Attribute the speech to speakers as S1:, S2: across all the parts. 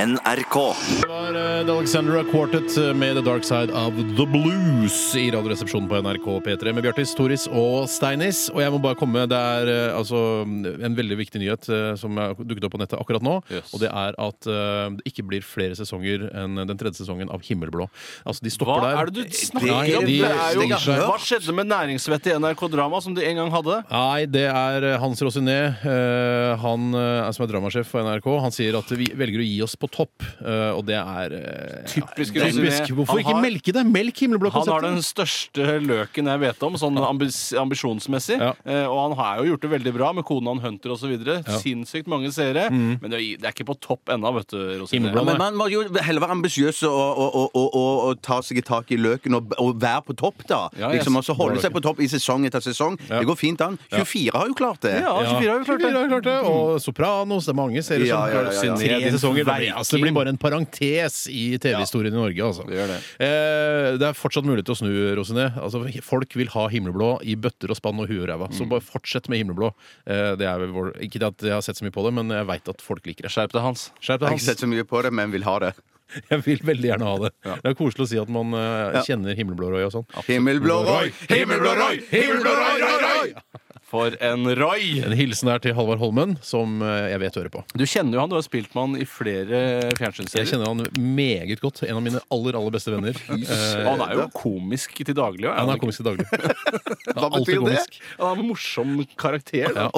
S1: NRK.
S2: Det var eh, The Alexandra Quartet eh, med The Dark Side of the Blues i Radioresepsjonen på NRK P3 med Bjartis, Toris og Steinis. Og jeg må bare komme, det er eh, altså en veldig viktig nyhet eh, som har dukket opp på nettet akkurat nå.
S3: Yes.
S2: Og det er at eh, det ikke blir flere sesonger enn den tredje sesongen av Himmelblå. Altså, de stopper
S3: Hva
S2: der.
S3: er det du snakker
S2: Nei,
S3: om?
S2: de
S3: Det er jo,
S2: slenger seg.
S3: hva skjedde med næringsvettet i NRK Drama, som de en gang hadde?
S2: Nei, det er Hans Rosiné, eh, han eh, som er dramasjef for NRK. Han sier at vi velger å gi oss på topp, eh, og det er eh,
S3: Typisk
S2: ja,
S3: Rosiné.
S2: typisk. Hvorfor
S3: Han
S2: ikke
S3: har-
S2: melke det? Melk
S3: Han har den
S2: himmelblå-konseptet.
S3: største løken jeg vet om, sånn ambis ambisjonsmessig.
S2: Ja.
S3: Eh, og han har jo gjort det veldig bra med kona han Hunter osv. videre Sinnssykt mange seere.
S2: Mm.
S3: Men det er, det er ikke på topp ennå, vet du, Rosine.
S2: Himmelblå.
S1: Men man må jo heller være ambisiøs og, og, og, og, og, og ta seg i tak i løken og, og være på topp, da.
S3: Ja, jeg-
S1: liksom, og så holde seg på topp i sesong etter sesong. Det går fint an. 24 har jo klart det.
S3: Ja, 24 har jo
S2: 24
S3: klart det. Mm.
S2: har klart det. Og Sopranos. Det er mange serier
S1: Ja,
S2: som
S1: ja, ja, ja.
S2: klart sin tredje
S3: Tre
S2: sesonger. Det blir,
S3: Viking.
S2: altså, det blir bare en parentes i TV-historien i Norge, altså.
S3: Det gjør det.
S2: Eh, det er fortsatt mulig til å snu, Rosiné. Altså, folk vil ha himmelblå i bøtter og spann og huet og ræva.
S1: Mm.
S2: Så bare fortsett med himmelblå. Eh, det er vel vår, ikke det at jeg har sett så mye på det, men jeg veit at folk liker det.
S3: Skjerp deg, Hans.
S2: Skjerp
S1: Jeg
S2: deg,
S1: har ikke
S2: Hans.
S1: sett så mye på det, men vil ha det.
S2: Jeg vil veldig gjerne ha det. Det er koselig å si at man eh, kjenner himmelblå røy og sånn.
S1: Himmelblå Roy! Himmelblå Roy! Himmelblå Roy, Roy, Roy!
S3: For en Roy!
S2: En hilsen her til Halvard Holmen, som eh, jeg vet hører på.
S3: Du kjenner jo han, du har spilt med han i flere
S2: Jeg
S3: fjernsynsserier.
S2: kjenner han meget godt. En av mine aller aller beste venner. Eh,
S3: Og han er jo komisk til daglig.
S2: han er komisk til daglig.
S1: Hva betyr det?
S3: Han er en morsom karakter. Da.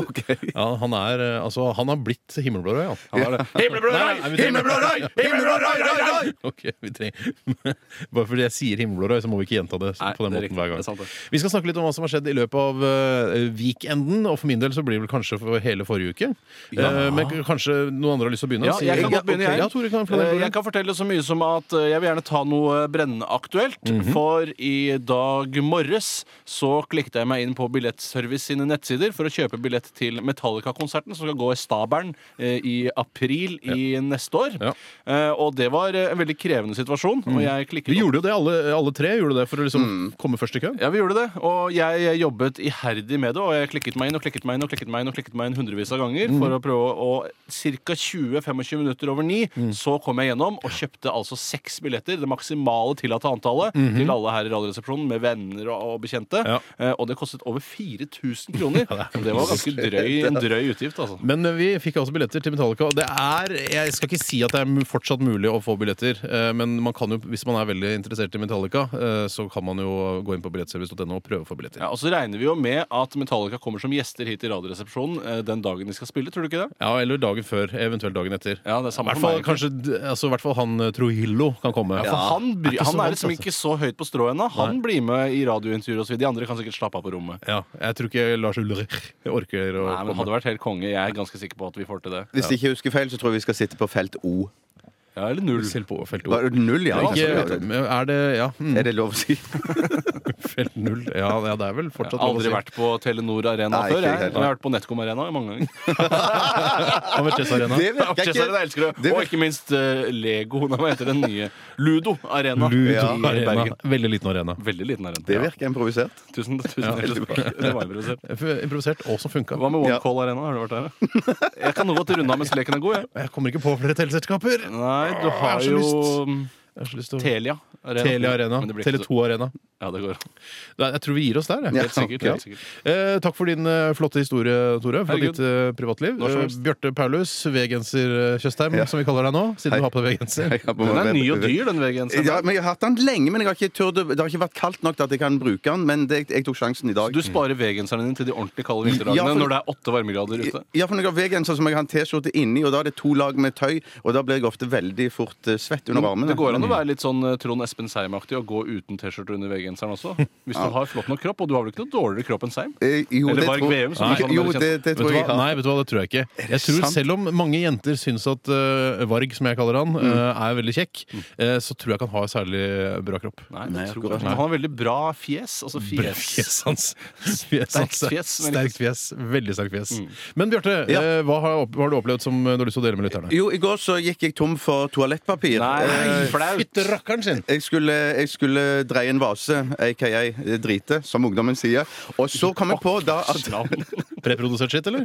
S2: Ja, han, er, eh, altså, han har blitt himmelblå røy, han.
S3: Han er det. Himmelblå Roy!
S2: Nei, nei, vi trenger-
S3: Himmelblå Roy! Himmelblå Roy, Roy, Roy!
S2: Ok, vi trenger Bare fordi jeg sier himmelblå røy, så må vi ikke gjenta det
S3: Nei,
S2: på den
S3: det
S2: måten hver
S3: er riktig. Det
S2: gang.
S3: er sant, det.
S2: Vi skal snakke litt om hva som har skjedd i løpet av eh, weekenden. Og for min del så blir det vel kanskje for hele forrige uke. Eh, men k- kanskje noen andre har lyst til å begynne?
S3: Ja,
S2: Si-
S3: jeg kan godt begynne,
S2: ok,
S3: jeg.
S2: Ja, Tore, kan,
S3: Eh, jeg kan fortelle så mye som at eh, jeg vil gjerne ta noe brennaktuelt. For i dag morges så klikket jeg meg inn på Billettservice sine nettsider for å kjøpe billett til Metallica-konserten som skal gå i Stabern eh, i april i neste år.
S2: Ja.
S3: Eh, Og det var eh, en veldig krevende situasjon. Og jeg klikket
S2: Vi
S3: opp-
S2: gjorde jo det, alle, alle tre gjorde det for å liksom
S3: Mm.
S2: komme først i køen.
S3: ja, vi gjorde det, og jeg jobbet iherdig med det. Og jeg klikket meg inn og klikket meg inn og klikket meg inn og klikket meg inn hundrevis av ganger for å prøve å Ca. 20-25 minutter over ni så kom jeg gjennom og kjøpte altså seks billetter, det maksimale tillatte antallet, til alle her i Radioresepsjonen med venner og, og bekjente.
S2: Ja.
S3: Eh, og det kostet over 4000 kroner. Så det var ganske drøy, en drøy utgift, altså.
S2: Men vi fikk altså billetter til Metallica. og Det er, Jeg skal ikke si at det er mu- fortsatt mulig å få billetter, eh, men man kan jo, hvis man er veldig interessert i Metallica, eh, så kan man jo gå inn på billettservice.no og prøve å få billetter.
S3: Ja, og så regner vi jo med at Metallica kommer som gjester hit i Radioresepsjonen eh, den dagen de skal spille, tror du ikke det?
S2: Ja, Eller dagen før, eventuelt dagen etter.
S3: Ja, det er samme
S2: hvert
S3: for
S2: fall,
S3: meg,
S2: kanskje, d- altså, I hvert fall han eh, Trujillo kan komme.
S3: Ja, for han, bry,
S2: ikke så
S3: han er
S2: vant,
S3: liksom
S2: altså.
S3: ikke så høyt på strå ennå. Han blir med i radiointervjuer osv. De andre kan sikkert slappe av på rommet.
S2: Ja, jeg tror ikke Lars Ulrik orker å
S3: Nei, men
S2: komme.
S3: Hadde vært helt konge. Jeg er ganske sikker på at vi får til det.
S1: Hvis jeg ikke husker feil, så tror jeg vi skal sitte på felt O.
S3: Ja, Eller null.
S2: Selv på felt
S1: Var
S2: O.
S1: det Null, ja.
S2: Ikke, er det Ja, mm,
S1: Er det lov å si?
S2: felt null. Ja, ja, det er vel fortsatt
S3: Jeg har aldri vært på Telenor Arena
S1: Nei, ikke
S3: før. Jeg.
S1: heller.
S3: jeg har vært på Netcom Arena mange ganger.
S2: på Chess Arena.
S1: Det virker
S3: Chess Arena
S1: ikke.
S3: elsker det.
S1: Det
S3: Og
S1: vil-
S3: ikke minst eh, Lego. Nei, Hva heter den nye? Ludo Arena.
S2: Ludo
S3: i
S2: Arena.
S3: Bergen.
S2: Veldig liten arena.
S3: Veldig liten arena.
S1: Det virker improvisert.
S3: Tusen, tusen hjertelig takk. Det var improvisert.
S2: Improvisert, og som funka.
S3: Hva med One
S1: Ja.
S3: Call Arena? Har du vært der? da? Jeg kan godt runde av mens leken er god. Jeg.
S2: Jeg kommer ikke på flere teleselskaper.
S3: Nei, du har
S2: Jeg har så
S3: jo
S2: Jeg har så lyst til å
S3: Telia Arena.
S2: Telia Arena.
S3: Men det blir ikke
S2: Tele
S3: så-
S2: 2 Arena.
S3: Ja, det går.
S2: Nei, Jeg tror vi gir oss der. jeg.
S1: Ja.
S3: Helt sikkert.
S2: Ja.
S3: Helt sikkert.
S2: Eh, takk for din eh, flotte historie, Tore. Fra
S3: Herregud.
S2: ditt eh, privatliv.
S3: Når som
S2: Eh,
S3: helst.
S2: Bjarte Paulus, V-genser eh, Tjøstheim,
S1: Ja.
S2: som vi kaller deg nå. Siden du har på deg V-genser.
S1: Jeg har på
S3: Den
S1: meg-
S3: er ny og altså. dyr, den VG-en.
S1: Ja, men Jeg har hatt den lenge, men jeg har ikke turt, det har ikke vært kaldt nok til at jeg kan bruke den. Men det, jeg tok sjansen i dag.
S3: Du sparer vegenseren din til de ordentlig kalde vinterdagene
S1: Ja, for-
S3: når det er åtte varmegrader ute.
S1: Ja, for når jeg har V-genser som jeg har en T-skjorte inni, og da er det to lag med tøy, og da blir jeg ofte veldig fort eh, svett under varmen.
S3: Det går an å være litt sånn eh, Trond Espen Seim-aktig og gå uten T-skjorte under V-genseren også. Hvis du har flott nok kropp, og du har vel ikke noe dårligere kropp enn Seim?
S1: Eh, jo,
S3: Eller
S1: det
S3: Varg
S1: tror-
S3: Veum, som er sånn
S1: Jo,
S3: veldig
S1: det, det
S2: Vet
S1: tror
S2: du hva?
S1: jeg jeg har.
S2: Nei, vet du hva, det tror jeg ikke. Jeg tror
S1: sant?
S2: Selv om mange jenter syns at eh, Varg, som jeg kaller han,
S3: Mm.
S2: eh, er veldig kjekk, eh, så tror jeg ikke han har særlig bra kropp.
S3: Nei,
S1: Nei,
S3: det tror
S1: akkurat.
S3: jeg ikke. Han har veldig bra fjes. Altså
S2: Bra
S3: fjes.
S2: Fjes hans. Fjes hans.
S3: Sterkt fjes, men-
S2: Sterkt fjes. Veldig sterkt fjes. Men Bjarte,
S1: Ja.
S2: eh, hva har, opp- hva har du opplevd som eh, du har lyst til å dele med lytterne?
S1: Jo, i går så gikk jeg tom for toalettpapir.
S3: Nei,
S1: Eh,
S3: flaut.
S2: rakkeren sin!
S1: Jeg skulle, jeg skulle
S3: Altså,
S1: dreie eh, en vase, aka drite, som ungdommen sier. Og så kom jeg på da at
S3: Navn.
S2: Preprodusert skitt, eller?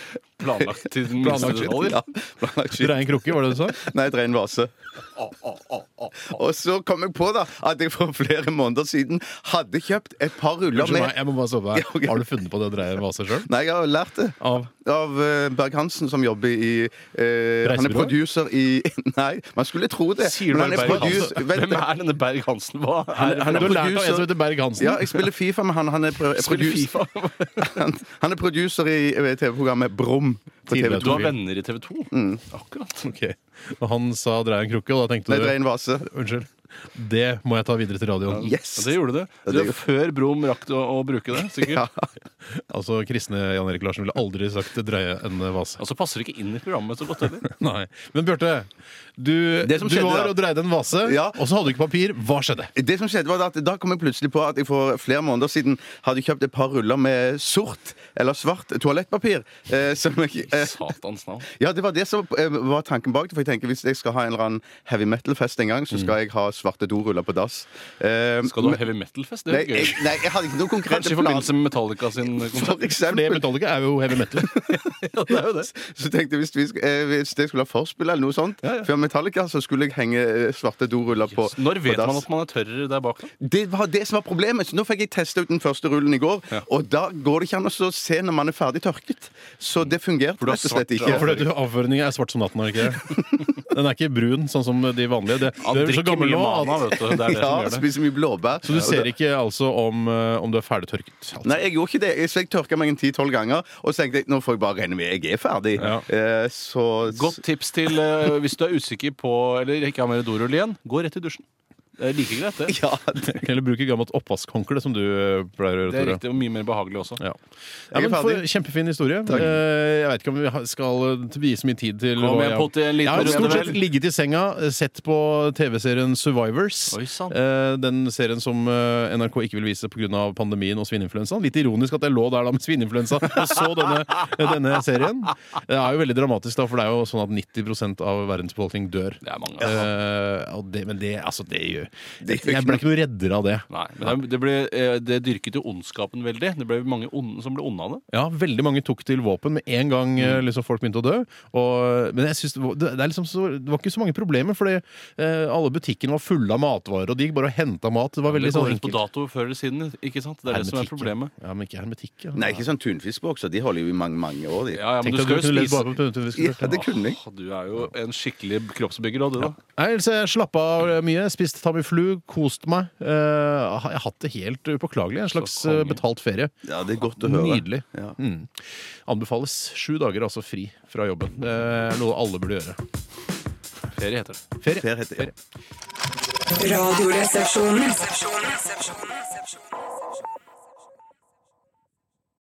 S3: Planlagt til den minste
S2: Planlagt
S1: Planlagt
S3: detaljer.
S1: skitt, ja. Planlagt skitt.
S2: Dreie en krukke, var det du sa?
S1: Nei, dreie en vase. Og så kom jeg på da at jeg for flere måneder siden hadde kjøpt et par ruller
S2: Unnskyld meg,
S1: med
S2: jeg må bare stoppe
S1: Ja, ok.
S2: her. Har du funnet på det å dreie en vase sjøl?
S1: Nei, jeg har lært det.
S2: Av
S1: Av eh, Berg-Hansen, som jobber i eh, Han er
S2: Reisebyrå?
S1: producer i Nei, man skulle tro det.
S3: Sier du
S1: men han er producer-
S3: Berg-Hansen?
S1: Vent
S3: Hvem
S1: da.
S3: er denne Berg-Hansen? Hva er det
S2: Du
S3: for
S2: har
S3: noe?
S2: lært av en som heter
S1: Ja,
S2: Berg-Hansen?
S1: jeg spiller Fifa med han. Han er, pro-
S3: Spiller
S1: producer-
S3: FIFA?
S1: han, han er producer i eh, TV-programmet Brum på TV
S2: Tidligere.
S1: 2.
S3: Du har venner i TV 2?
S1: Mm.
S3: Akkurat.
S2: Ok. Og han sa dreie en krukke, og da tenkte
S1: Nei,
S2: du
S1: dreie en vase.
S2: Unnskyld. Det må jeg ta videre til radioen.
S1: Yes!
S3: Ja, det gjorde det.
S1: Ja,
S3: Du,
S1: det gjorde-
S3: Før Brum rakk å, å bruke det, sikkert.
S1: Ja.
S2: Altså, Kristne Jan Erik Larsen ville aldri sagt 'dreie en vase'.
S3: Og så passer det ikke inn i programmet så godt heller.
S2: Nei. Men Bjarte, du,
S1: Det som
S2: du
S1: skjedde
S2: var
S1: da-
S2: og dreide en vase,
S1: Ja.
S2: og så hadde du ikke papir. Hva skjedde?
S1: Det som skjedde var da at Da kom jeg plutselig på at jeg for flere måneder siden hadde kjøpt et par ruller med sort eller svart toalettpapir. Eh, som jeg, eh,
S3: Satans navn.
S1: ja, Det var det som eh, var tanken bak det. For jeg tenker Hvis jeg skal ha en eller annen heavy metal-fest en gang, så skal jeg ha svarte doruller på dass. Eh,
S3: Mm. Skal du ha heavy metal-fest? Det
S1: nei,
S3: er jo
S1: jeg,
S3: gøy.
S1: nei, jeg hadde ikke noen konkrete
S3: Kanskje i forbindelse med Metallica sin konsert.
S1: For
S2: For det
S1: eksempel.
S2: Metallica er jo heavy metal.
S3: Ja, det er jo det.
S1: Så tenkte jeg hvis, vi, sk- eh, hvis jeg skulle ha forspill eller noe sånt
S3: Ja, ja.
S1: før Metallica, så skulle jeg henge eh, svarte doruller på,
S3: Når vet
S1: på
S3: man at man er tørrere der bak? da?
S1: Det var det som var problemet. Så nå fikk jeg testa ut den første rullen i går,
S3: Ja.
S1: og da går det ikke an å så se når man er ferdig tørket. Så det fungerte
S3: Mm. du har
S1: rett og slett
S3: svart
S1: ikke.
S2: Ja, fordi at Avføringen er svart som natten. er det ikke det? Den er ikke brun, sånn som de vanlige. Det,
S3: Han
S2: du er så
S3: drikker
S2: gammel
S3: mye
S2: nå
S3: mana,
S2: at
S3: vet du. Det er det
S1: Ja,
S3: som gjør det.
S1: spiser mye blåbær.
S2: Så du ser ikke altså om, eh, om du er ferdigtørket? altså.
S1: Nei, jeg gjorde ikke det. Jeg- Så jeg tørka meg en ti-tolv ganger, og så tenkte jeg nå får jeg bare regne med jeg er ferdig.
S2: Ja.
S1: Eh, så
S3: Godt tips til eh, hvis du er usikker på eller ikke har mer dorull igjen, gå rett i dusjen. Det er like greit, det.
S1: Ja, det,
S2: Eller bruke gammelt oppvaskhåndkle, som du eh, pleier å
S3: Det
S2: gjøre,
S3: er
S2: Tore.
S3: riktig og mye mer behagelig også.
S2: Ja. Ja,
S1: Jeg er
S2: men for,
S1: ferdig.
S2: kjempefin historie. Eh, Jeg veit ikke om vi ha- skal eh, vie så mye tid til
S3: Kom
S2: hva jeg-
S3: igjen, Potti, en liten
S2: Jeg har stort
S3: runde,
S2: sett
S3: vel?
S2: ligget i senga, eh, sett på TV-serien Survivors.
S3: Oi, sant.
S2: Eh, Den serien som eh, NRK ikke vil vise pga. pandemien og svineinfluensaen. Litt ironisk at jeg lå der da med svineinfluensa og så denne, eh, denne serien. Det er jo veldig dramatisk, da, for det er jo sånn at 90 av verdens befolkning dør.
S3: Det er mange. altså.
S2: Eh, og det, men det, altså, det gjør
S1: Det er ikke
S2: Jeg ble ikke noe reddere av det.
S3: Nei, men det, ble, eh, det dyrket jo ondskapen veldig. Det ble mange onde som ble onde av det.
S2: Ja, veldig mange tok til våpen med en gang
S3: Mm.
S2: eh, liksom, folk begynte å dø. Og, men jeg synes det, var, det, er liksom så, det var ikke så mange problemer, fordi eh, alle butikkene var fulle av matvarer, og de gikk bare og henta mat. Det var
S3: Det
S2: veldig
S3: går
S2: sånn
S3: ut på dato før eller siden. ikke sant? Det er det som er
S2: Hermetikk, ja.
S3: problemet.
S2: Ja, men ikke hermetikk. Ja.
S1: nei, ikke sånn tunfiskbokser. De holder jo i mange, mange år, de.
S3: Ja, ja, men
S2: Tenk at du
S3: du skal jo
S2: kunne levd
S3: spise
S2: bare på tunfisk.
S1: Ja, det kunne jeg.
S3: Åh, Du er jo en skikkelig kroppsbygger, da, du, da.
S2: Nei, altså, jeg slappa av mye, spist Tamiflu, kost meg. Eh, jeg har hatt det helt upåklagelig. En slags
S3: konge.
S2: eh, betalt ferie.
S1: Ja, det er godt å høre.
S2: Nydelig.
S1: Ja.
S2: Mm. Anbefales sju dager altså fri fra jobben. Det er noe alle burde gjøre.
S3: Ferie heter det.
S2: Ferie.
S1: Per heter jeg.
S4: Radioresepsjonen.